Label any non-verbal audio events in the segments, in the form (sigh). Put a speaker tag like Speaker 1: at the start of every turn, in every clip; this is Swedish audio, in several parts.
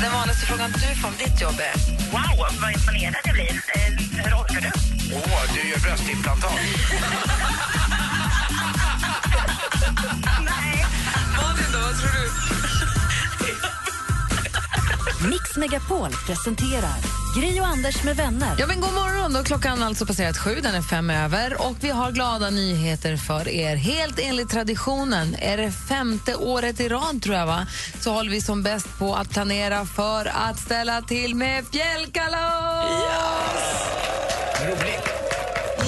Speaker 1: Den vanligaste frågan du får om ditt jobb är?
Speaker 2: Wow, vad imponerad jag blir. Eh, hur orkar du?
Speaker 3: Åh, du gör bröstimplantat.
Speaker 1: Malin då, vad tror du?
Speaker 4: Mix Megapol presenterar Gri och Anders med vänner.
Speaker 1: Ja, men god morgon. Då. Klockan har alltså passerat sju, den är fem över. Och vi har glada nyheter för er. Helt enligt traditionen, är det femte året i rad tror jag va? så håller vi som bäst på att planera för att ställa till med fjällkalas!
Speaker 3: Roligt.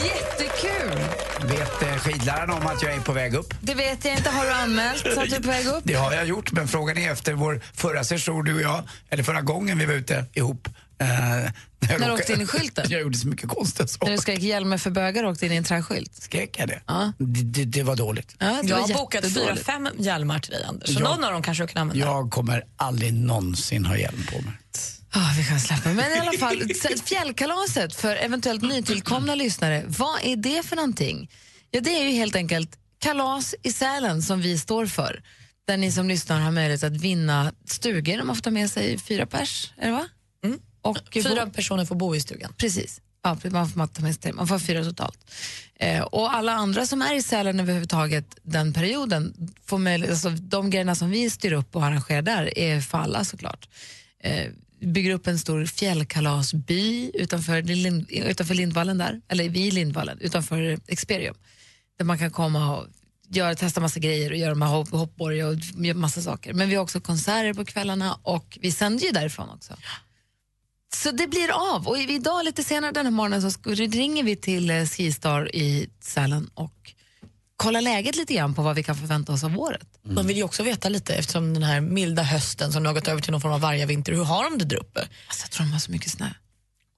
Speaker 1: Jättekul!
Speaker 3: Vet eh, skidläraren om att jag är på väg upp?
Speaker 1: Det vet jag inte. Har du anmält så att du är på väg upp?
Speaker 3: Det har jag gjort, men frågan är efter vår förra session, du och jag, eller förra gången vi var ute ihop. eh, när jag
Speaker 1: du
Speaker 3: råkade-
Speaker 1: åkte in i skylten?
Speaker 3: Jag gjorde så mycket konstiga
Speaker 1: När
Speaker 3: saker.
Speaker 1: du skrek Hjälme för bögar och åkte in i en träskylt?
Speaker 3: Skrek jag det?
Speaker 1: Ja.
Speaker 3: Det, det? Det var dåligt.
Speaker 1: Ja, det
Speaker 5: Jag
Speaker 1: var
Speaker 5: har bokat fyra,
Speaker 1: jättedåligt.
Speaker 5: fem hjälmar till dig, Anders. Så
Speaker 3: Ja.
Speaker 5: någon av dem kanske du kan använda.
Speaker 3: Jag kommer aldrig någonsin ha hjälm på mig.
Speaker 1: Ja, vi kan släppa. Men i alla fall, så- fjällkalaset för eventuellt nytillkomna lyssnare, vad är det för någonting? Ja, det är ju helt enkelt kalas i Sälen som vi står för. Där ni som lyssnar har möjlighet att vinna stugor. De har fått ta med sig fyra pers, är det va? Och
Speaker 5: Fyra personer får bo i stugan.
Speaker 1: Precis. Ja, man, får matta med sig. man får fyra totalt. Eh, och alla andra som är i Sälen överhuvudtaget den perioden, får möjlighet, alltså, de grejerna som vi styr upp och arrangerar där är för alla såklart. Eh, bygger upp en stor fjällkalasby utanför, Lind, utanför Lindvallen där, eller vid Lindvallen, utanför Experium. Där man kan komma och göra, testa massa grejer och göra de här hopp, hoppborgar och göra massa saker. Men vi har också konserter på kvällarna och vi sänder ju därifrån också. Så det blir av. Och idag lite senare den här morgonen så sk- ringer vi till eh, Skistar i Sälen och kollar läget lite grann på vad vi kan förvänta oss av året.
Speaker 3: Mm.
Speaker 5: De vill ju också veta lite, eftersom den här milda hösten som nu har gått över till någon form av vargavinter, hur har de det där uppe?
Speaker 1: Alltså, jag tror de har så mycket snö.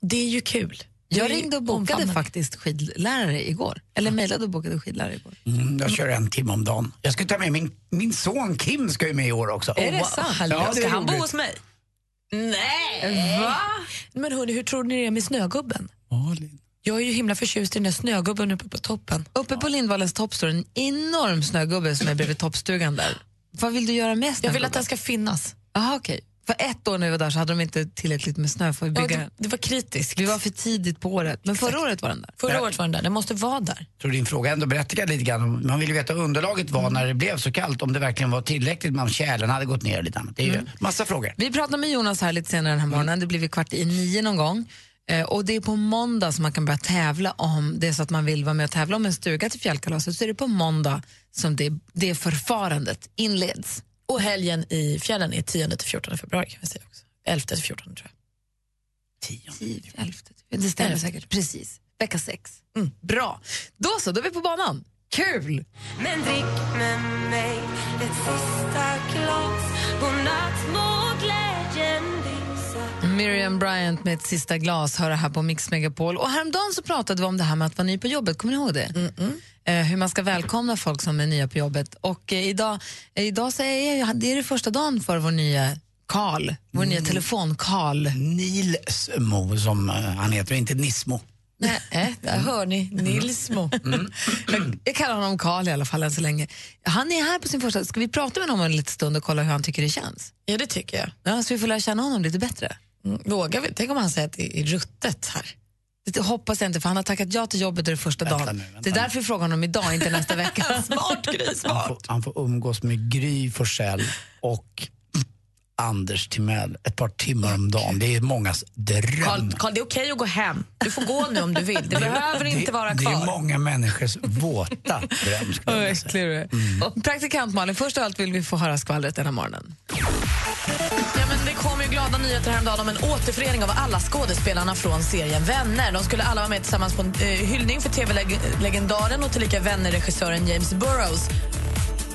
Speaker 5: Det är ju kul. Det är
Speaker 1: Jag
Speaker 5: ju
Speaker 1: ringde och bokade
Speaker 5: omfamnande.
Speaker 1: faktiskt skidlärare igår. Eller mejlade och bokade skidlärare igår.
Speaker 3: Mm, jag kör en timme om dagen. Jag ska ta med min, min son Kim ska ju med i år också. Oh,
Speaker 5: Är det
Speaker 3: wow.
Speaker 5: sant?
Speaker 3: Ja, det
Speaker 5: Ska
Speaker 3: är
Speaker 5: han bo
Speaker 3: roligt.
Speaker 5: hos mig? Nej! Men hörni, hur tror ni det är med snögubben?
Speaker 3: Malin.
Speaker 5: Jag är ju himla förtjust i den där snögubben uppe på toppen.
Speaker 1: Uppe på Lindvallens topp står en enorm snögubbe som är bredvid toppstugan där. Vad vill du göra med
Speaker 5: Jag vill att
Speaker 1: snögubben?
Speaker 5: den ska finnas.
Speaker 1: Jaha, okej. För ett år när vi var där så hade de inte tillräckligt med snö för att
Speaker 5: Ja,
Speaker 1: bygga.
Speaker 5: det, det var kritiskt.
Speaker 1: Vi var för tidigt på året, men förra året var den där.
Speaker 5: Förra året var den där, den måste vara där.
Speaker 3: tror din fråga är ändå berättigad lite grann. Man vill ju veta hur underlaget
Speaker 5: Mm.
Speaker 3: var när det blev så kallt, om det verkligen var tillräckligt med om tjälen hade gått ner och lite annat. Det är ju
Speaker 5: Mm.
Speaker 3: massa frågor.
Speaker 1: Vi pratar med Jonas här lite senare den här morgonen. Det blir vid kvart i nio någon gång. Eh, och det är på måndag som man kan börja tävla om det är så att man vill vara med och tävla om en stuga till fjällkalaset så är det på måndag som det, det förfarandet inleds.
Speaker 5: Och helgen i fjällen är 10-14 februari kan vi säga också. 11-14 tror jag.
Speaker 1: Elfte, det stämmer säkert. Eh, Precis. Vecka sex. Mm. Bra. Då så, då är vi på banan. Kul!
Speaker 6: Men drick med mig ett sista glas Godnatt må glädjen lysa
Speaker 1: Miriam Bryant med ett sista glas hör det här på Mix Megapol. Och häromdagen så pratade vi om det här med att vara ny på jobbet, kommer ni ihåg det? Eh, hur man ska välkomna folk som är nya på jobbet. Och eh, idag, eh, idag så är jag, det är det första dagen för vår nya Karl, vår nya telefon Karl.
Speaker 3: Nilsmo som eh, han heter, inte Nismo.
Speaker 1: Nej, äh,
Speaker 5: Där hör ni Nilsmo.
Speaker 1: jag kallar honom Karl i alla fall än så länge. Han är här på sin första, ska vi prata med honom en liten stund och kolla hur han tycker det känns?
Speaker 5: Ja, det tycker jag.
Speaker 1: Ja, så vi får lära känna honom lite bättre.
Speaker 5: Mm, Vågar vi? Tänk om han säger att det är ruttet här.
Speaker 1: Det hoppas jag inte, för han har tackat ja till jobbet det första
Speaker 3: Vänta
Speaker 1: dagen.
Speaker 3: nu, vänta
Speaker 1: det är därför vi frågar honom idag, inte
Speaker 5: (laughs)
Speaker 1: nästa vecka.
Speaker 5: Smart gris,
Speaker 3: Han får, han får umgås med Gry Forssell och Anders Timell ett par timmar om dagen. Det är mångas dröm.
Speaker 5: Carl, Carl, det är okej att gå hem. Du får gå nu om du vill. Mm. (laughs) Det behöver inte vara
Speaker 3: Det är
Speaker 5: kvar.
Speaker 3: många människors våta dröm. skulle jag vilja säga.
Speaker 1: Äcklig du är. Och Praktikant Malin, först av allt vill vi få höra skvallret den här morgonen.
Speaker 5: Ja, men det kom ju glada nyheter häromdagen om en återförening av alla skådespelarna från serien Vänner. De skulle alla vara med tillsammans på en eh, hyllning för tv-legendaren och tillika Vänner-regissören James Burrows.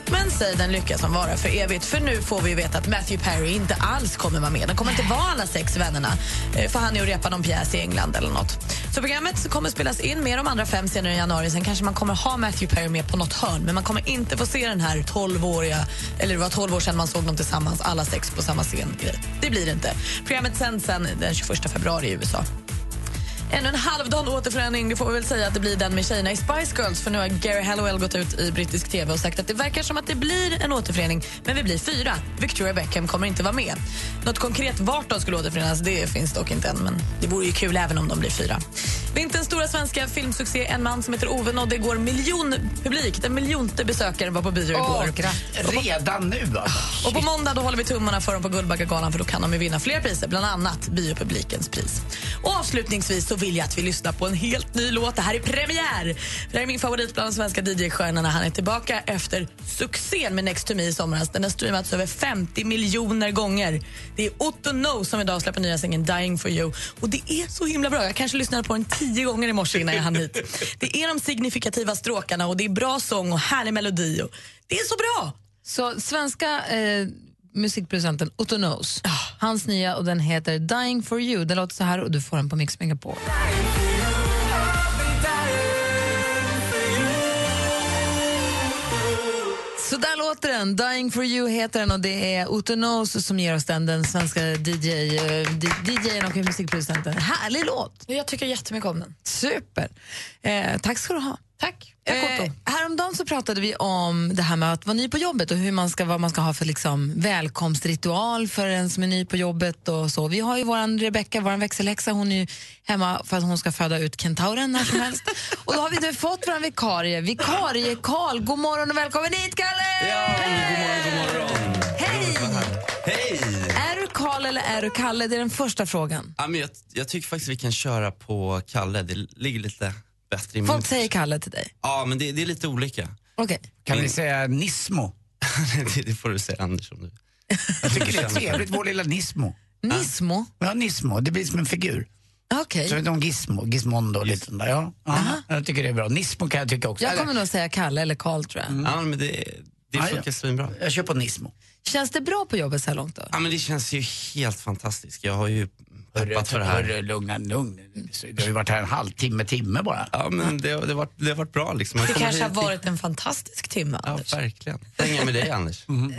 Speaker 5: Men säg den lyckas som vara för evigt, för nu får vi ju veta att Matthew Perry inte alls kommer vara med. De kommer inte vara alla sex vännerna, eh, för han är och repar någon pjäs i England eller något. Så programmet kommer spelas in med de andra fem senare i januari. Sen kanske man kommer ha Matthew Perry med på något hörn. Men man kommer inte få se den här 12-åriga, eller det var 12 år sedan man såg dem tillsammans, alla sex på samma scen. Det blir det inte. Programmet sänds sen den 21 februari i USA. Ännu en halvdan återförening, det får vi väl säga att det blir den med tjejerna i Spice Girls för nu har Gary Hallowell gått ut i brittisk tv och sagt att det verkar som att det blir en återförening, men vi blir fyra. Victoria Beckham kommer inte vara med. Något konkret vart de skulle återförenas det finns dock inte än, men det vore ju kul även om de blir fyra. Vinterns stora svenska filmsuccé En man som heter Ove nådde igår miljon publik. Den miljonte besökaren var på bio igår.
Speaker 3: Redan nu alltså.
Speaker 5: Och på måndag då håller vi tummarna för dem på Guldbaggegalan för då kan de ju vinna fler priser, bland annat biopublikens pris. Och avslutningsvis så vill jag att vi lyssnar på en helt ny låt. Det här är premiär! För Det här är min favorit bland de svenska DJ-stjärnorna. Han är tillbaka efter succén med Next to me i somras. Den har streamats över 50 miljoner gånger. Det är Otto No som idag släpper nya singeln Dying for you. Och det är så himla bra. Jag kanske lyssnade på den tio gånger i morse innan jag hann hit. Det är de signifikativa stråkarna och det är bra sång och härlig melodi. Och det är så bra!
Speaker 1: Så svenska eh, musikproducenten Otto Knows, hans nya och den heter Dying for you. Den låter så här och du får den på Mix Megapol. Så där låter den. Dying for you heter den och det är Otto Knows som ger oss den, den svenska DJ, eh, D- DJn och musikproducenten. Härlig låt!
Speaker 5: Jag tycker jättemycket om den.
Speaker 1: Super! Eh, tack ska du ha.
Speaker 5: Tack.
Speaker 1: Eh, häromdagen så pratade vi om det här med att vara ny på jobbet och hur man ska, vad man ska ha för liksom välkomstritual för en som är ny på jobbet. och så. Vi har ju vår Rebecka, vår växelhäxa, hon är ju hemma för att hon ska föda ut kentauren när som helst. och då har vi nu fått vår vikarie, vikarie Karl. God morgon och välkommen hit, Kalle! Hej!
Speaker 7: Hej!
Speaker 1: Är du Karl eller är du Kalle? Det är den första frågan.
Speaker 7: Ja, men jag, jag tycker faktiskt vi kan köra på Kalle. Det ligger lite bättre i
Speaker 5: Mm.
Speaker 7: min...
Speaker 1: Folk säger Kalle till dig.
Speaker 7: Ja, men det, det är lite olika. (laughs)
Speaker 1: Okej.
Speaker 3: Kan vi säga Nismo?
Speaker 7: det, det får du säga Anders om du...
Speaker 3: Jag tycker det är trevligt, vår lilla Nismo.
Speaker 1: Nismo?
Speaker 3: Ja, Nismo, det blir som en figur.
Speaker 1: Okej.
Speaker 3: Så är det någon Gizmo, Gizmondo och lite sånt där. Ja. Ja, Jag tycker det är bra. Nismo kan jag tycka också.
Speaker 1: Jag kommer nog säga Kalle eller Karl, tror
Speaker 5: Mm.
Speaker 1: jag.
Speaker 7: Ja, men det, det
Speaker 3: Ja, ja.
Speaker 7: funkar svinbra.
Speaker 3: Jag kör på Nismo.
Speaker 1: Känns det bra på jobbet så här långt? då?
Speaker 7: Ja, men det känns ju helt fantastiskt. Jag har ju peppat för det här.
Speaker 3: Hörru, lugna, lugn. Du har ju varit här en halvtimme, timme bara.
Speaker 7: Ja, men det, har- det, har, varit, det har varit bra liksom. Jag
Speaker 5: Det
Speaker 7: kommer
Speaker 5: kanske har
Speaker 7: hit-
Speaker 5: varit en fantastisk timme,
Speaker 7: Ja,
Speaker 5: Anders.
Speaker 7: verkligen. Hänga med dig
Speaker 3: (laughs)
Speaker 7: Anders.
Speaker 3: Mm,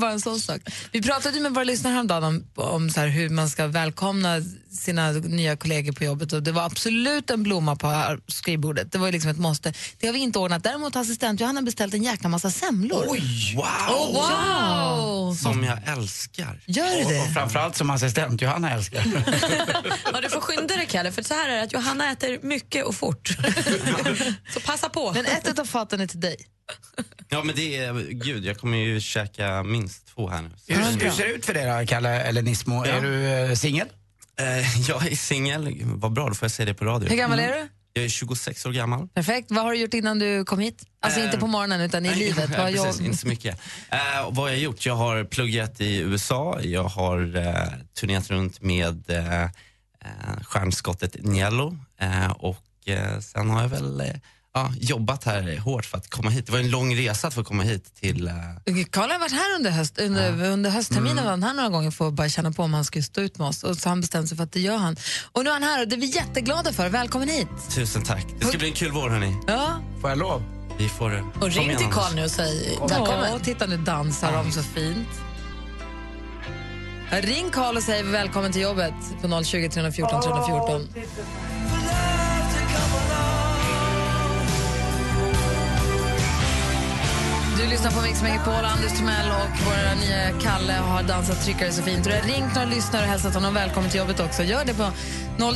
Speaker 1: (laughs) Bara en sån sak. Vi pratade ju med våra lyssnare häromdagen om, om så här hur man ska välkomna sina nya kollegor på jobbet och det var absolut en blomma på ar- skrivbordet. Det var ju liksom ett måste. Det har vi inte ordnat. Däremot har assistent Johanna beställt en jäkla massa semlor.
Speaker 3: Oj!
Speaker 7: Wow!
Speaker 1: Wow!
Speaker 7: Som jag älskar.
Speaker 1: Gör du
Speaker 3: Och, och
Speaker 1: det?
Speaker 3: framförallt som assistent Johanna älskar.
Speaker 5: Ja, du får skynda dig, Kalle, för så här är det att Johanna äter mycket
Speaker 7: (laughs)
Speaker 5: och fort. så passa på.
Speaker 1: Men ett av faten är till dig.
Speaker 7: Ja, men det är... Gud, jag kommer ju käka minst två här nu. Så-
Speaker 3: Hur, hur ser det ut för dig då, Kalle, eller Nismo? Är du eh, singel?
Speaker 7: Eh, Jag är singel. Vad bra, då får jag säga det på radio.
Speaker 1: Hur gammal är du?
Speaker 7: Jag är 26 år gammal.
Speaker 1: Perfekt. Vad har du gjort innan du kom hit? Alltså inte på morgonen utan i
Speaker 7: Nej,
Speaker 1: livet.
Speaker 7: ja,
Speaker 1: Vad har
Speaker 7: (laughs) precis,
Speaker 1: jag...
Speaker 7: Inte så mycket. Eh, och vad har jag gjort? Jag har pluggat i USA. Jag har eh, turnerat runt med eh, eh, stjärnskottet Niello. Eh, och eh, sen har jag väl eh, ja, jobbat här hårt för att komma hit. Det var en lång resa för att komma hit till... Eh,
Speaker 1: Karl har varit här under, höst, under, under höstterminen
Speaker 7: Mm.
Speaker 1: var han här några gånger för att bara känna på om han skulle stå ut med oss. Och så han bestämde sig för att det gör han. Och nu är han här och det är vi jätteglada för. Välkommen hit!
Speaker 7: tusen tack. Det ska bli en kul vår, hörni.
Speaker 1: Ja.
Speaker 3: Får jag lov?
Speaker 7: Vi får eh, det. Kom
Speaker 5: Och ring
Speaker 7: igen,
Speaker 5: till
Speaker 7: Anders.
Speaker 5: Karl nu och säg
Speaker 1: Välkommen.
Speaker 5: välkommen.
Speaker 1: Och titta nu dansar de så fint. Ja, Ring Karl och säg välkommen till jobbet på 020 314 314. Du lyssnar på Mix Megapol, Anders Timell och vår nya Kalle har dansat tryckare så fint. Och du har ringt några lyssnare och hälsat honom välkommen till jobbet också. Gör det på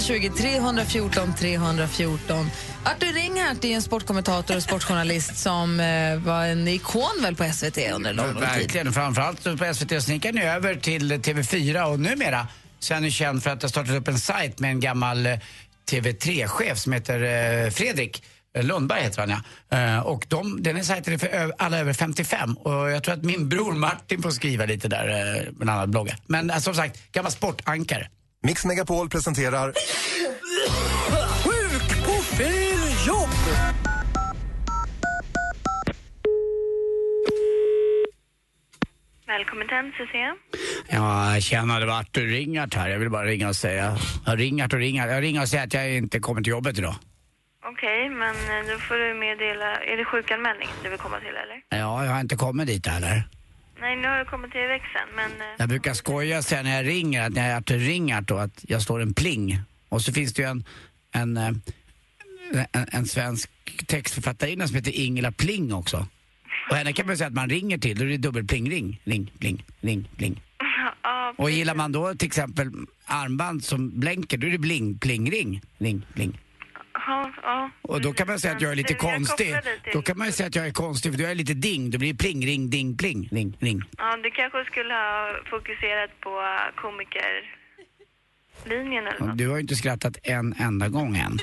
Speaker 1: 020 314 314. Artur Ringart är en sportkommentator och sportjournalist som eh, var en ikon väl på SVT under lång, lång tid.
Speaker 3: Verkligen, framförallt på SVT så gick han ju över till TV4 och numera så är han ju känd för att ha startat upp en sajt med en gammal eh, TV3-chef som heter eh, Fredrik. eh, Lundberg heter han ja. Eh, Och de, den här sajten är för ö- alla över 55 och jag tror att min bror Martin får skriva lite där, eh, med en annan blogga. Men eh, som sagt, gammal sportankare.
Speaker 8: Mix Megapol presenterar...
Speaker 6: Välkommen till NCC.
Speaker 3: Ja, tjena, det var Artur Ringart här. Jag vill bara ringa och säga... Ja, Ringart och Ringart. Jag ringer och säger att jag inte kommer till jobbet idag.
Speaker 9: Okej, men eh, då får du meddela... Är det sjukanmälning du vill komma till eller?
Speaker 3: Ja, jag har inte kommit dit heller.
Speaker 9: Nej, nu har du kommit till växeln, men... eh,
Speaker 3: Jag brukar skoja sen när jag ringer, att när jag är Artur Ringart då, att jag slår en pling. Och så finns det ju en, en, eh, en, en svensk textförfattarinna som heter Ingela Pling också. Och henne kan man ju säga att man ringer till, då är det dubbel pling-ring. Ring, pling, ring, pling.
Speaker 9: Ja,
Speaker 3: Och gillar man då till exempel armband som blänker, då är det bling, pling, ring. Ring, bling.
Speaker 9: ja, ja.
Speaker 3: Och då kan man säga att jag är lite
Speaker 9: Du, jag
Speaker 3: konstig.
Speaker 9: kopplar dig till-
Speaker 3: Då kan man ju säga att jag är konstig för då är jag lite ding. Då blir det pling, ring, ding, pling, ring, ring.
Speaker 9: Ja, du kanske skulle ha fokuserat på eh, komikerlinjen eller
Speaker 3: Och
Speaker 9: något.
Speaker 3: Du har ju inte skrattat en enda gång än.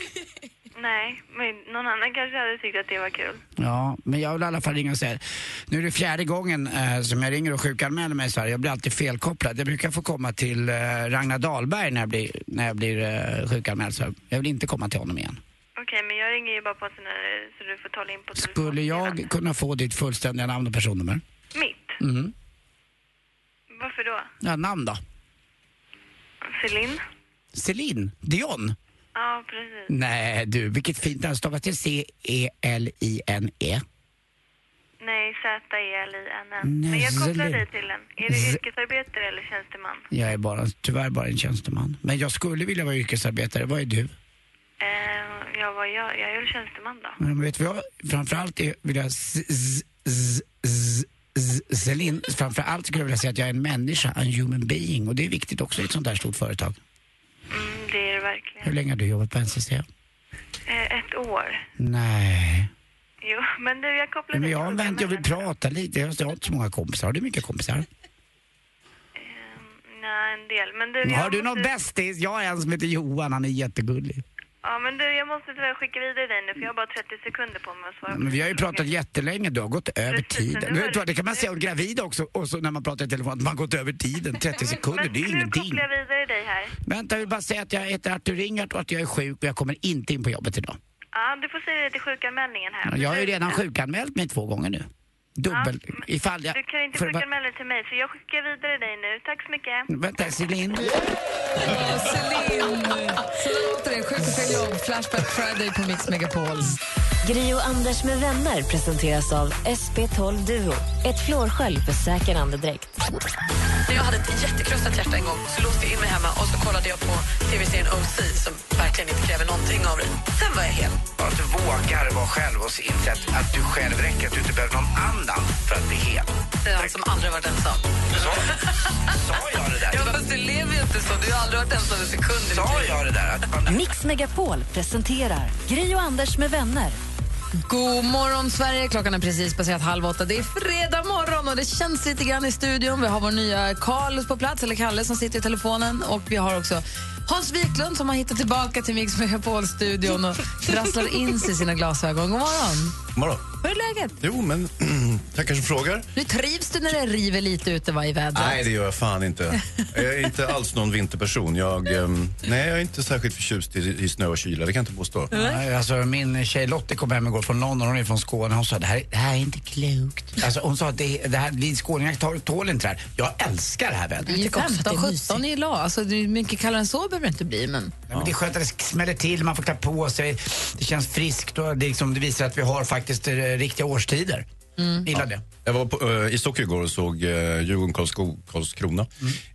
Speaker 9: Nej, men någon annan kanske hade tyckt att det var kul.
Speaker 3: Ja, men jag vill i alla fall ringa och säga Nu är det fjärde gången eh, som jag ringer och sjukanmäler mig i Sverige. Jag blir alltid felkopplad. Jag brukar få komma till eh, Ragnar Dahlberg när jag blir, när jag blir eh, sjukanmäld. Så jag vill inte komma till honom igen.
Speaker 9: Okej, men jag ringer ju bara på sån här, så du får tala in på telefonen.
Speaker 3: Skulle jag kunna få ditt fullständiga namn och personnummer?
Speaker 9: Mitt?
Speaker 3: Mm.
Speaker 9: Varför då?
Speaker 3: Ja, namn då?
Speaker 9: Celine?
Speaker 3: Celine? Dion?
Speaker 9: Ja, precis.
Speaker 3: Mm. Nej du, vilket fint namn. Stavas det E C-E-L-I-N-E?
Speaker 9: Nej, E Z-E-L-I-N-N.
Speaker 3: Nej,
Speaker 9: Men jag kopplar
Speaker 3: Zelin.
Speaker 9: dig till den. Är du
Speaker 3: Z-
Speaker 9: yrkesarbetare eller tjänsteman?
Speaker 3: Jag är bara, tyvärr bara en tjänsteman. Men jag skulle vilja vara yrkesarbetare. Vad är du?
Speaker 9: Eh, ja, vad jag, jag är väl tjänsteman då.
Speaker 3: Men vet du vad jag framförallt är- vill jag... z- z- z- z- z- Celine, framförallt skulle jag vilja säga att jag är en människa, en human being. Och det är viktigt också i ett sånt här stort företag.
Speaker 9: Mm, det är det verkligen.
Speaker 3: Hur länge har du jobbat på NCC?
Speaker 9: Eh, ett år.
Speaker 3: Nej.
Speaker 9: Jo, men du, jag kopplar
Speaker 3: Men
Speaker 9: dig
Speaker 3: jag har
Speaker 9: till
Speaker 3: en vän, jag vill prata lite. Jag har inte så många kompisar. Har du mycket kompisar?
Speaker 9: Nej, en del. Men du, jag
Speaker 3: Har du
Speaker 9: måste-
Speaker 3: någon bästis? Jag har en som heter Johan, han är jättegullig.
Speaker 9: Ja, men du, jag måste tyvärr skicka vidare dig nu för jag har bara 30 sekunder på mig att svara.
Speaker 3: Men vi har ju pratat jättelänge, du har gått över tiden. Vet du vad, det kan man säga om gravida också, och så när man pratar i telefon, att man har gått över tiden. 30 sekunder, det är ju
Speaker 9: Nu
Speaker 3: ingenting.
Speaker 9: kopplar jag vidare dig här.
Speaker 3: Vänta, jag vill bara säga att jag heter Artur Ringart och att jag är sjuk och jag kommer inte in på jobbet idag.
Speaker 9: Ja, du får säga det till sjukanmälningen här.
Speaker 3: Jag har ju redan sjukanmält mig två gånger nu. Dubbel... Ifall jag...
Speaker 9: Du kan inte
Speaker 3: för att-
Speaker 9: sjukanmäla dig till mig så jag skickar vidare dig nu. Tack så mycket.
Speaker 3: Vänta, Celine.
Speaker 1: Så låter det. Sjukt och fel jobb. Flashback Friday på Mix Megapol.
Speaker 4: Gri och Anders med vänner presenteras av SP12 Duo. Ett flårskölj för säker andedräkt.
Speaker 5: När jag hade ett jättekrossat hjärta en gång så låste jag in mig hemma och så kollade jag på tv-serien OC som verkligen inte kräver någonting av dig. Sen var jag hel.
Speaker 3: Bara att du vågar vara själv och inse att, att du själv räcker, att du inte behöver någon annan för att bli hel.
Speaker 5: Det är han som aldrig varit ensam.
Speaker 3: Sa jag det där?
Speaker 5: Ja, fast du lever ju inte så. Du har aldrig varit ensam en sekund. Sa
Speaker 3: jag det där?
Speaker 4: Mix Megapol presenterar Gri och Anders med vänner.
Speaker 1: God morgon, Sverige. Klockan är precis passerat halv åtta. Det är fredag morgon och det känns lite grann i studion. Vi har vår nya Karl på plats, eller Kalle, som sitter i telefonen. Och vi har också Hans Wiklund som har hittat tillbaka till Mix Megapol-studion och trasslar in sig i sina glasögon. God morgon.
Speaker 10: Morgon.
Speaker 1: Hur är läget?
Speaker 10: Jo, men (clears throat) tackar som frågar.
Speaker 1: Nu trivs du när det river lite ute va, i vädret?
Speaker 10: Nej, det gör jag fan inte. Jag är inte alls någon vinterperson. Jag, ehm, nej, jag är inte särskilt förtjust i, i snö och kyla, det kan jag inte påstå.
Speaker 5: Mm.
Speaker 3: Nej, alltså, min tjej Lottie kom hem igår från London, hon är från Skåne. Hon sa det här, det här är inte klokt. Alltså, hon sa att det, det här, vi skåningar tål- tål inte det här. Jag älskar det här vädret.
Speaker 1: Det är 15, 17 i lag. Alltså, det är mycket kallare än så behöver det inte bli. Men...
Speaker 3: Ja, men det är skönt att det sk- smäller till, man får klä på sig, det känns friskt och det, liksom, det visar att vi har faktiskt eh, riktiga årstider. Gillar det.
Speaker 10: Jag var på, eh, i Stockholm igår och såg eh, Djurgården Karlsko, Karlskrona.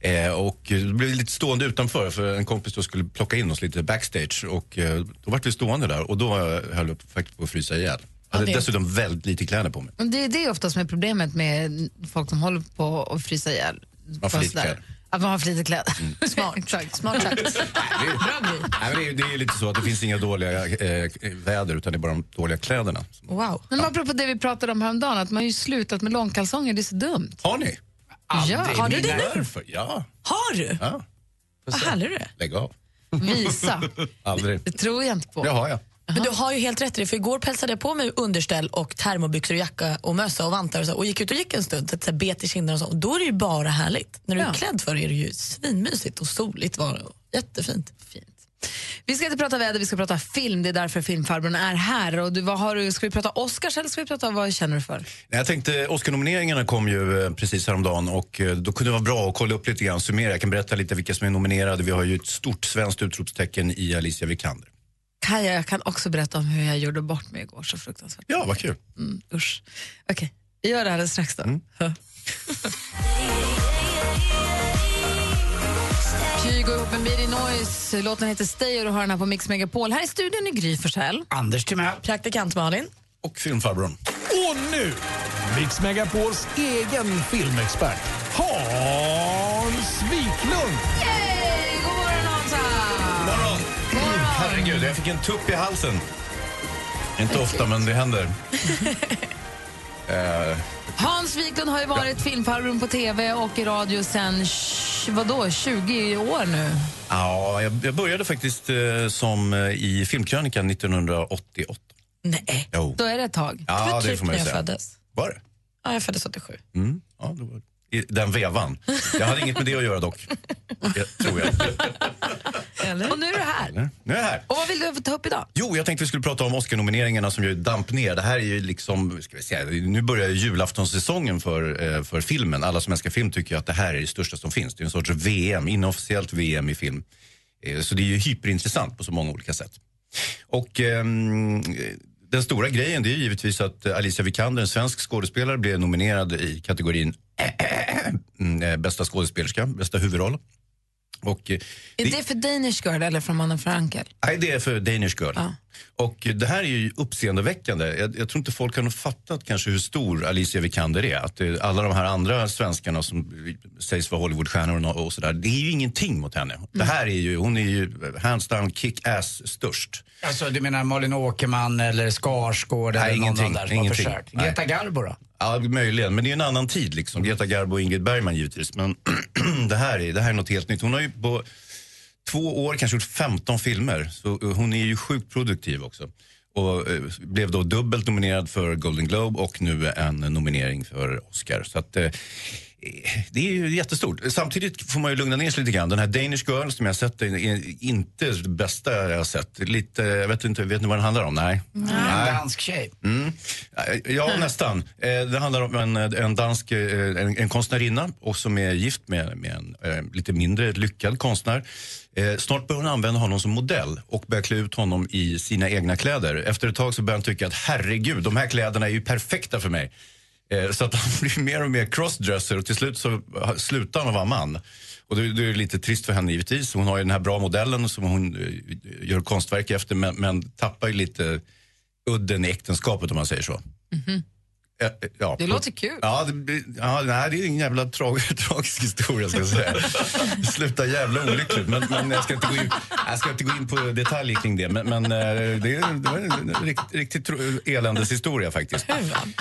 Speaker 3: Mm.
Speaker 10: Eh, och eh, det blev lite stående utanför för en kompis då skulle plocka in oss lite backstage. Och eh, då vart vi stående där och då höll jag faktiskt på att frysa ihjäl. Jag hade
Speaker 1: det-
Speaker 10: dessutom väldigt lite kläder på mig.
Speaker 1: Men Det, det är ofta som är problemet med folk som håller på att frysa ihjäl.
Speaker 10: Man får
Speaker 1: Bara
Speaker 10: lite
Speaker 1: sådär.
Speaker 10: kläder. Mm.
Speaker 1: Att man har för lite kläder. (laughs) Smart. Exakt, smart sagt. Bra grej.
Speaker 10: Nej, men det, är, det är ju lite så att det finns inga dåliga eh, väder utan det är bara de dåliga kläderna.
Speaker 1: Wow. Men apropå det vi pratade om häromdagen, att man har ju slutat med långkalsonger, det är så dumt.
Speaker 10: Har ni?
Speaker 1: Ja. Har du det nu?
Speaker 10: Varför? Ja.
Speaker 1: Har du?
Speaker 10: ja.
Speaker 5: Vad härlig du är.
Speaker 10: Lägg av.
Speaker 1: Visa.
Speaker 10: Aldrig.
Speaker 1: Det tror jag inte på.
Speaker 10: Det har jag.
Speaker 5: Men du har ju helt rätt i det, för igår pälsade jag på mig underställ och termobyxor och jacka och mössa och vantar och, så, och gick ut och gick en stund, så att så här, bet i kinderna och så. Och då är det ju bara härligt. När du är klädd för det är det ju svinmysigt och soligt var det och jättefint.
Speaker 1: Fint. Vi ska inte prata väder, vi ska prata film. Det är därför filmfarbrorn är här. Och du, vad har du, ska vi prata Oscars eller ska vi prata vad känner du för?
Speaker 10: Nej, Jag tänkte, Oscar-nomineringarna kom ju eh, precis häromdagen och eh, då kunde det vara bra att kolla upp lite grann, summera. Jag kan berätta lite vilka som är nominerade. Vi har ju ett stort svenskt utropstecken i Alicia Vikander.
Speaker 1: Kaja, jag kan också berätta om hur jag gjorde bort mig igår. Så fruktansvärt.
Speaker 10: Ja, vad kul. Mm.
Speaker 1: Mm, usch. Okej, vi gör det alldeles strax då. Kygo ihop med Miri Noise. Låten heter Stay och du hör den här på Mix Megapol. Här i studion är Gry Forssell.
Speaker 3: Anders Timell.
Speaker 1: Praktikant Malin.
Speaker 10: Och filmfarbrorn.
Speaker 11: Och nu, Mix Megapols egen filmexpert, Hans Wiklund!
Speaker 1: Yay! God morgon, Hansa!
Speaker 10: morgon! Herregud, jag fick en tupp i halsen. Inte ofta, men det händer. Eh,
Speaker 1: Hans Wiklund har ju varit filmfarbrorn på tv och i radio sen tj- vadå, 20 år nu.
Speaker 10: Ja, jag, jag började faktiskt eh, som eh, i Filmkrönikan 1988.
Speaker 1: Nej.
Speaker 10: Jo.
Speaker 1: Då är det ett tag.
Speaker 10: Ja,
Speaker 1: det var
Speaker 10: det
Speaker 1: typ
Speaker 10: får man
Speaker 1: när
Speaker 10: ju
Speaker 1: jag
Speaker 10: säga.
Speaker 1: föddes.
Speaker 10: Var det?
Speaker 1: Ja, jag föddes 87.
Speaker 10: Mm. Ja, det var det. I den vevan. Jag hade inget med det att göra dock. Det tror jag.
Speaker 1: Och nu är du här.
Speaker 10: Eller? Nu är jag här.
Speaker 1: Och vad vill du ta upp idag?
Speaker 10: Jo, jag tänkte vi skulle prata om Oscar-nomineringarna som ju damp ner. Det här är ju liksom, ska vi säga, nu börjar ju julaftonssäsongen för, eh, för filmen. Alla som älskar film tycker ju att det här är det största som finns. Det är en sorts VM, inofficiellt VM i film. Eh, Så det är ju hyperintressant på så många olika sätt. Och ehm, den stora grejen det är ju givetvis att eh, Alicia Vikander, en svensk skådespelare, blev nominerad i kategorin mm, eh, bästa skådespelerska, bästa huvudroll. Och eh,
Speaker 1: Är det för Danish Girl eller från Mannen för Ankel?
Speaker 10: Nej, det är för Danish Girl. Och det här är ju uppseendeväckande. Jag, jag tror inte folk har nog fattat kanske hur stor Alicia Vikander är. Att eh, alla de här andra svenskarna som sägs vara Hollywoodstjärnor och, och sådär, det är ju ingenting mot henne. Det här är ju, hon är ju hands down kick-ass störst.
Speaker 3: Alltså, du menar Malin Åkerman eller Skarsgård
Speaker 10: Nej,
Speaker 3: eller någon
Speaker 10: ingenting,
Speaker 3: annan där som har
Speaker 10: ingenting.
Speaker 3: försökt?
Speaker 10: Nej.
Speaker 3: Greta Garbo då?
Speaker 10: Ja, möjligen, men det är en annan tid liksom. Greta Garbo och Ingrid Bergman givetvis. Men (clears throat) det här, är, det här är något helt nytt. Hon har ju på två år kanske gjort 15 filmer. Så eh, hon är ju sjukt produktiv också. Och eh, blev då dubbelt nominerad för Golden Globe och nu en nominering för Oscar. Så att, eh, det är ju jättestort. Samtidigt får man ju lugna ner sig lite grann. Den här Danish Girl som jag har sett är är inte det bästa jag har sett. Lite, jag vet inte, vet ni vad den handlar om? Nej.
Speaker 3: Mm. En dansk tjej.
Speaker 10: Mm. Ja,
Speaker 5: Hm.
Speaker 10: nästan. Eh, Det handlar om en, en dansk eh, en, en konstnärinna och som är gift med, med en eh, lite mindre lyckad konstnär. Eh, Snart börjar hon använda honom som modell och börjar klä ut honom i sina egna kläder. Efter ett tag så börjar han tycka att herregud, de här kläderna är ju perfekta för mig. Eh, Så att han (laughs) blir mer och mer crossdresser och till slut så ha- slutar han att vara man. Och det, det är lite trist för henne givetvis. Hon har ju den här bra modellen som hon eh, gör konstverk efter men, men tappar ju lite udden i äktenskapet om man säger så. Eh, eh, Ja,
Speaker 1: Det låter kul.
Speaker 10: Ja, det, blir- ja, nej, det är en jävla tra- tragisk historia ska jag säga. Det slutar jävla olyckligt. Men, men jag, ska inte gå in, jag ska inte gå in på detaljer kring det. Men, men eh, det, är- det var en rikt- riktigt tro- eländeshistoria faktiskt.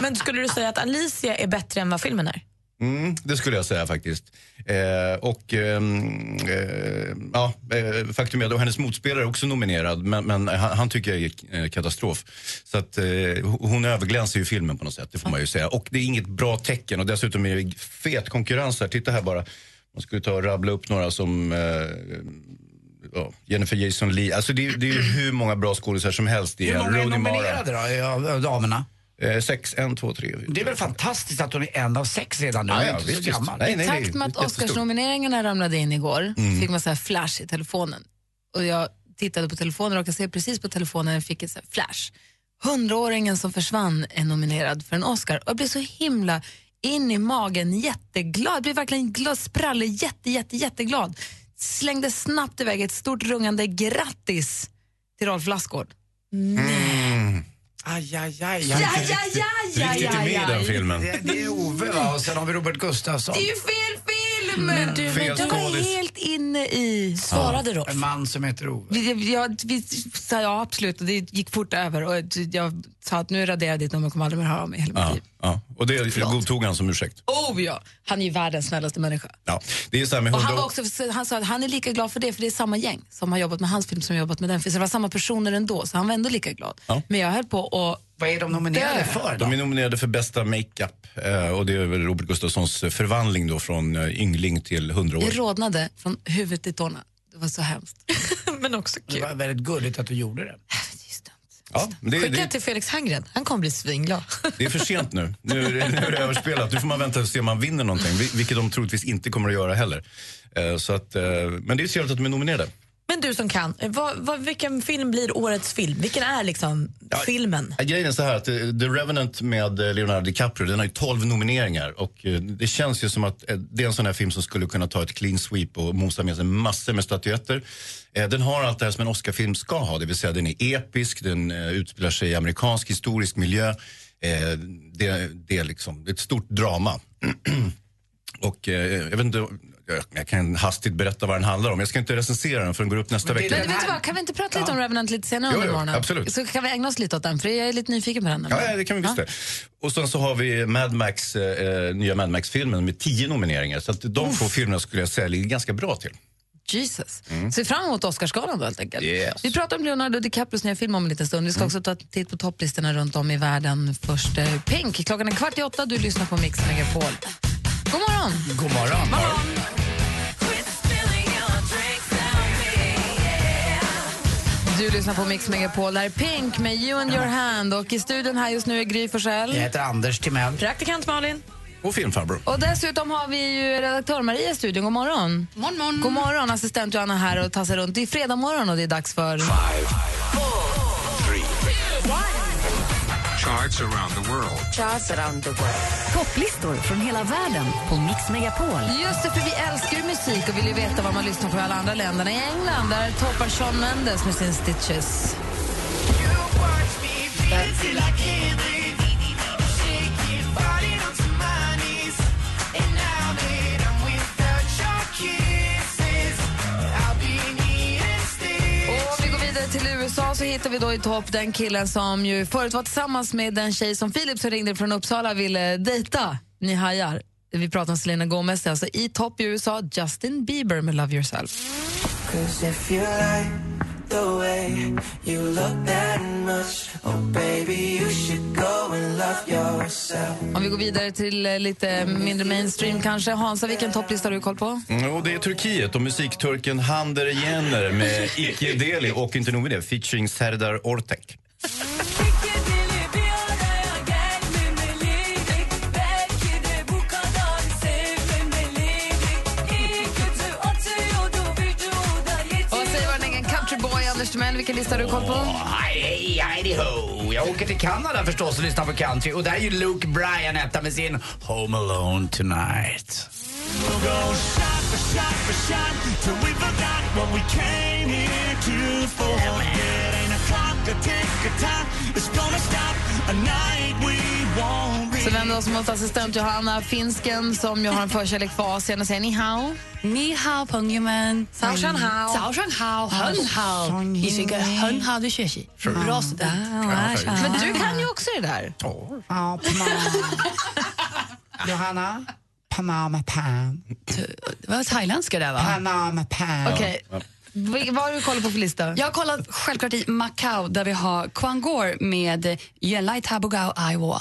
Speaker 5: Men skulle du säga att Alicia är bättre än vad filmen är?
Speaker 10: Mm, det skulle jag säga faktiskt. Eh, och ehm, eh, ja, eh, Faktum är att hennes motspelare är också nominerad, men, men han, han tycker jag är eh, katastrof. Så att, eh, ho- hon överglänser ju filmen på något sätt, det får man ju säga. Och det är inget bra tecken och dessutom är det fet konkurrens här. Titta här bara, man skulle ta och rabbla upp några som eh, ja, Jennifer Jason Leigh. Alltså det, är- det är ju hur många bra skådisar som helst. Det
Speaker 3: Hur många är
Speaker 10: Rooney Mara.
Speaker 3: nominerade då, eh, av av damerna?
Speaker 10: Eh, sex, en, två, tre.
Speaker 3: Det är väl fantastiskt att hon är en av sex redan nu.
Speaker 10: Ja,
Speaker 3: Hon är
Speaker 10: ja,
Speaker 3: inte så
Speaker 10: visst, visst.
Speaker 3: gammal.
Speaker 10: Nej,
Speaker 1: I takt med att Oscarsnomineringarna ramlade in igår
Speaker 3: Mm.
Speaker 1: fick man så här flash i telefonen. Och jag tittade på telefonen och jag ser precis på telefonen jag fick ett så här flash. Hundraåringen som försvann är nominerad för en Oscar. Och jag blev så himla in i magen, jätteglad. Jag blev verkligen glad, sprallig, jätte, jätte, jätteglad. Slängde snabbt iväg ett stort rungande grattis till Rolf Lassgård.
Speaker 10: Mm.
Speaker 3: Aj, aj, aj.
Speaker 1: Jag är inte Aj, aj, riktigt- aj, aj, riktigt aj, med i aj. den filmen.
Speaker 3: Det, det är Ove va? och sen har vi Robert Gustafsson.
Speaker 1: Det är ju fel film!
Speaker 3: Men du, men Fel
Speaker 1: jag var
Speaker 3: skådis.
Speaker 1: helt inne i...
Speaker 3: En man som heter Ove.
Speaker 1: Vi, vi- jag, vi sa ja, absolut, och det gick fort över. Och jag sa att nu raderar jag ditt nummer, kommer aldrig mer höra av mig i hela mitt
Speaker 10: Ja,
Speaker 1: liv.
Speaker 10: ja. Och det godtog han som ursäkt.
Speaker 1: Oh ja, han är ju världens snällaste människa.
Speaker 10: Ja, det är så här med
Speaker 1: Och han,
Speaker 10: hundra-
Speaker 1: var också, han sa att han är lika glad för det, för det är samma gäng som har jobbat med hans film som har jobbat med den. För det var samma personer ändå, så han var ändå lika glad.
Speaker 10: Ja.
Speaker 1: Men jag höll på att
Speaker 3: Vad är de nominerade för
Speaker 10: De är nominerade för bästa makeup eh, och det är väl Robert Gustafssons förvandling då från eh, yngling till
Speaker 1: Det
Speaker 10: 100-åring.
Speaker 1: rodnade från huvudet till tårna. Det Det var så hemskt. (laughs) Men också
Speaker 3: Det var väldigt gulligt att du gjorde det.
Speaker 10: Ja, men det,
Speaker 1: Skicka
Speaker 10: det,
Speaker 1: till Felix Herngren, han kommer bli svinglad.
Speaker 10: det är för
Speaker 1: (laughs)
Speaker 10: sent nu. Nu är, det, nu är det överspelat. Nu får man vänta och se om man vinner någonting. vil- Vilket de troligtvis inte kommer att göra heller. Eh, Så att, eh, men det är trevligt att de är nominerade.
Speaker 5: Men du som kan, eh, vad, vad, vilken film blir årets film? Vilken är liksom filmen?
Speaker 10: Ja, Grejen är så här att eh, The Revenant med eh, Leonardo DiCaprio, den har ju 12 nomineringar och eh, det känns ju som att eh, det är en sån här film som skulle kunna ta ett clean sweep och mosa med sig massor med statyetter. Eh, Den har allt det här som en Oscarfilm ska ha, det vill säga den är episk, den eh, utspelar sig i amerikansk historisk miljö. Eh, Det, det är liksom det är ett stort drama. Och eh, jag vet inte, jag, jag kan hastigt berätta vad den handlar om. Jag ska inte recensera den förrän den går upp nästa vecka.
Speaker 1: Men vet du vad, kan vi inte prata lite om Revenant lite senare
Speaker 10: Jo,
Speaker 1: under
Speaker 10: jo,
Speaker 1: morgonen?
Speaker 10: absolut.
Speaker 1: Så kan vi ägna oss lite åt den, för jag är lite nyfiken på den. ändå.
Speaker 10: Ja, ja, det kan vi visst det. Och sen så har vi Mad Max, eh, eh, nya Mad Max-filmen med tio nomineringar. Så att de två filmerna skulle jag säga ligger ganska bra till. Mm.
Speaker 1: Jesus. Se fram emot Oscarsgalan då helt enkelt.
Speaker 10: Yes. Mm.
Speaker 1: Vi pratar om Leonardo DiCaprios nya film om en liten stund. Vi ska också ta en titt på topplistorna runt om i världen. Först eh, Pink, klockan är kvart i åtta. Du lyssnar på Mix Megapol. God morgon!
Speaker 3: God morgon.
Speaker 1: Du lyssnar på Mix Megapol. Där är Pink med You and your hand. Och i studion här just nu är Gry Forssell.
Speaker 3: Jag heter Anders Timell.
Speaker 1: Praktikant Malin.
Speaker 10: Och filmfarbror.
Speaker 1: Och dessutom har vi ju redaktör Maria i studion. God morgon. Morgon, morgon. God morgon, assistent Johanna här och tassar runt. Det är fredag morgon och det är dags för...
Speaker 12: Charts around the world. Charts around the world.
Speaker 1: Topplistor från hela världen på Mix Megapol. Just det, för vi älskar ju musik och vill ju veta vad man lyssnar på i alla andra länderna. I England där toppar Shawn Mendes med sin Stitches. Och vi går vidare till USA så hittar vi då i topp den killen som ju förut var tillsammans med den tjej som Filip som ringde från Uppsala ville dejta. Ni hajar. Vi pratar om Selena Gomez, Det är alltså i topp i USA, Justin Bieber med Love yourself.
Speaker 13: Cause if you like the way you look that much, oh baby, you should go and love yourself.
Speaker 1: Om vi går vidare till eh, lite mindre mainstream kanske. Hansa, vilken topplista har du koll på?
Speaker 10: Mm, och det är Turkiet och musikturken Hander Yener med Ikke Deli och inte nog med det, featuring Serdar Ortek.
Speaker 1: Och vad säger vår egen countryboy Anders Timell, vilken lista har du koll på?
Speaker 3: Hej, hej, ho. Jag åker till Kanada förstås och lyssnar på country. Och där är ju Luke Bryan etta med sin Home Alone Tonight.
Speaker 1: Så vänder vi oss mot assistent Johanna, finsken som ju har en förkärlek för Asien och säger ni hao. (laughs) Ni hao pengyemen. Sao shan hao. Sao shan hao.
Speaker 14: Hen hao. Ni tycker hen hao du kör sig. Bra student.
Speaker 1: Men du kan ju också det där.
Speaker 14: Ja, på mamma. Johanna. Panama Pan. Det var thailändska där va? Panama Pan.
Speaker 1: Okej. Vil- Vad har du kollat på för lista?
Speaker 14: Jag kollar självklart i Macau där vi har Kwangor med Yenlai Tabugao Aiwo.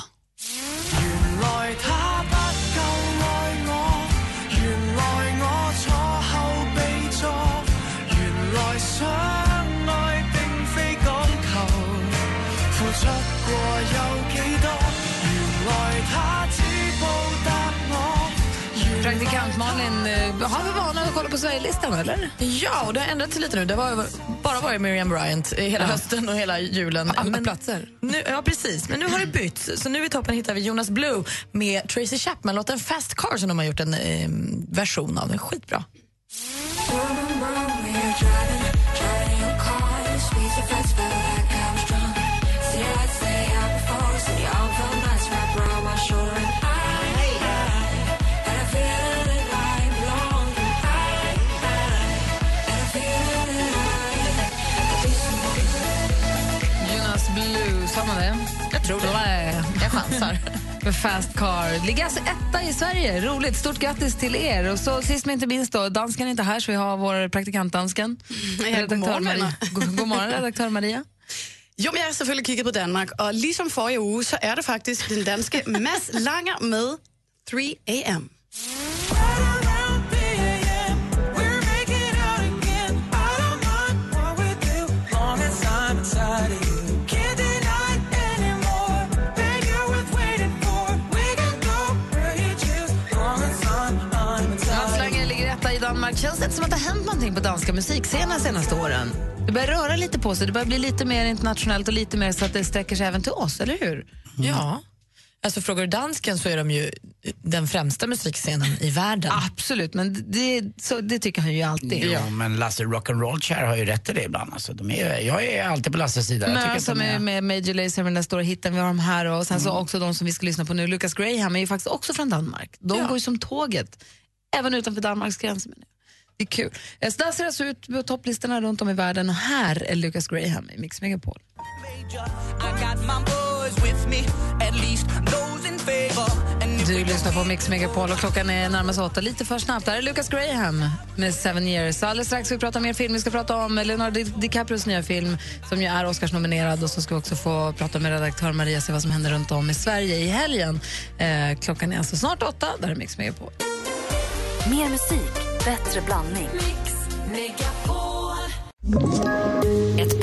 Speaker 1: Praktikant Malin, eh, har vi vana att kolla på Sverigelistan eller?
Speaker 5: Ja, och det har ändrat sig lite nu. Det har bara varit Miriam Bryant i hela
Speaker 1: Ja.
Speaker 5: hösten och hela julen. Alla platser. Nu, ja, precis. Men nu har det bytts. Så nu i toppen hittar vi Jonas Blue med Tracy Chapman-låten Fast Car som de har gjort en eh, version av. Den är skitbra.
Speaker 1: Jonas Blue, sa man det? Jag tror det. Jag chansar. (laughs) Med Fast Car. Ligger alltså etta i Sverige. Roligt. Stort grattis till er. Och så sist men inte minst då, dansken är inte här så vi har vår praktikant dansken.
Speaker 14: god morgon,
Speaker 1: Maria. God, god morgon redaktör (laughs) Maria.
Speaker 14: Jo, men jeg har selvfølgelig kigget på Danmark, og ligesom forrige uge, så er det faktisk den
Speaker 5: (laughs)
Speaker 14: danske Mads Langer med 3 AM.
Speaker 1: Danmark. Känns det inte som att det har hänt någonting på danska musikscener senaste åren? Det börjar röra lite på sig. Det börjar bli lite mer internationellt och lite mer så att det sträcker sig även till oss, eller hur?
Speaker 15: Ja. Alltså frågar du dansken så är de ju den främsta musikscenen i världen.
Speaker 1: Absolut, men det, så, det tycker han ju alltid.
Speaker 3: Jo, men Lasse Rock'n'Roll Chair har ju rätt i det ibland. Alltså, de är, jag är alltid på Lasses sida. Jag
Speaker 1: Möra
Speaker 3: tycker att Mm.
Speaker 1: som
Speaker 3: de
Speaker 1: är med Major Lazer med den där stora hitten, vi har de här och sen så också de som vi ska lyssna på nu, Lucas Graham är ju faktiskt också från Danmark. De går ju som tåget, även utanför Danmarks gränser. menar jag. Det är kul. Eh, Så där ser det alltså ut på topplistorna runt om i världen och här är Lucas Graham i Mix Megapol.
Speaker 16: I got my boys with me, at least those in favor. And if
Speaker 1: Du lyssnar på Mix Megapol och klockan är närmast åtta, lite för snabbt. Där är Lucas Graham med Seven years. Alldeles strax ska vi prata om mer film. Vi ska prata om Leonardo Di- DiCaprios nya film som ju är Oscarsnominerad och så ska vi också få prata med redaktör Maria se vad som händer runt om i Sverige i helgen. Eh, klockan är alltså snart åtta, där är Mix Megapol.
Speaker 4: Mer musik, bättre blandning.
Speaker 17: Ett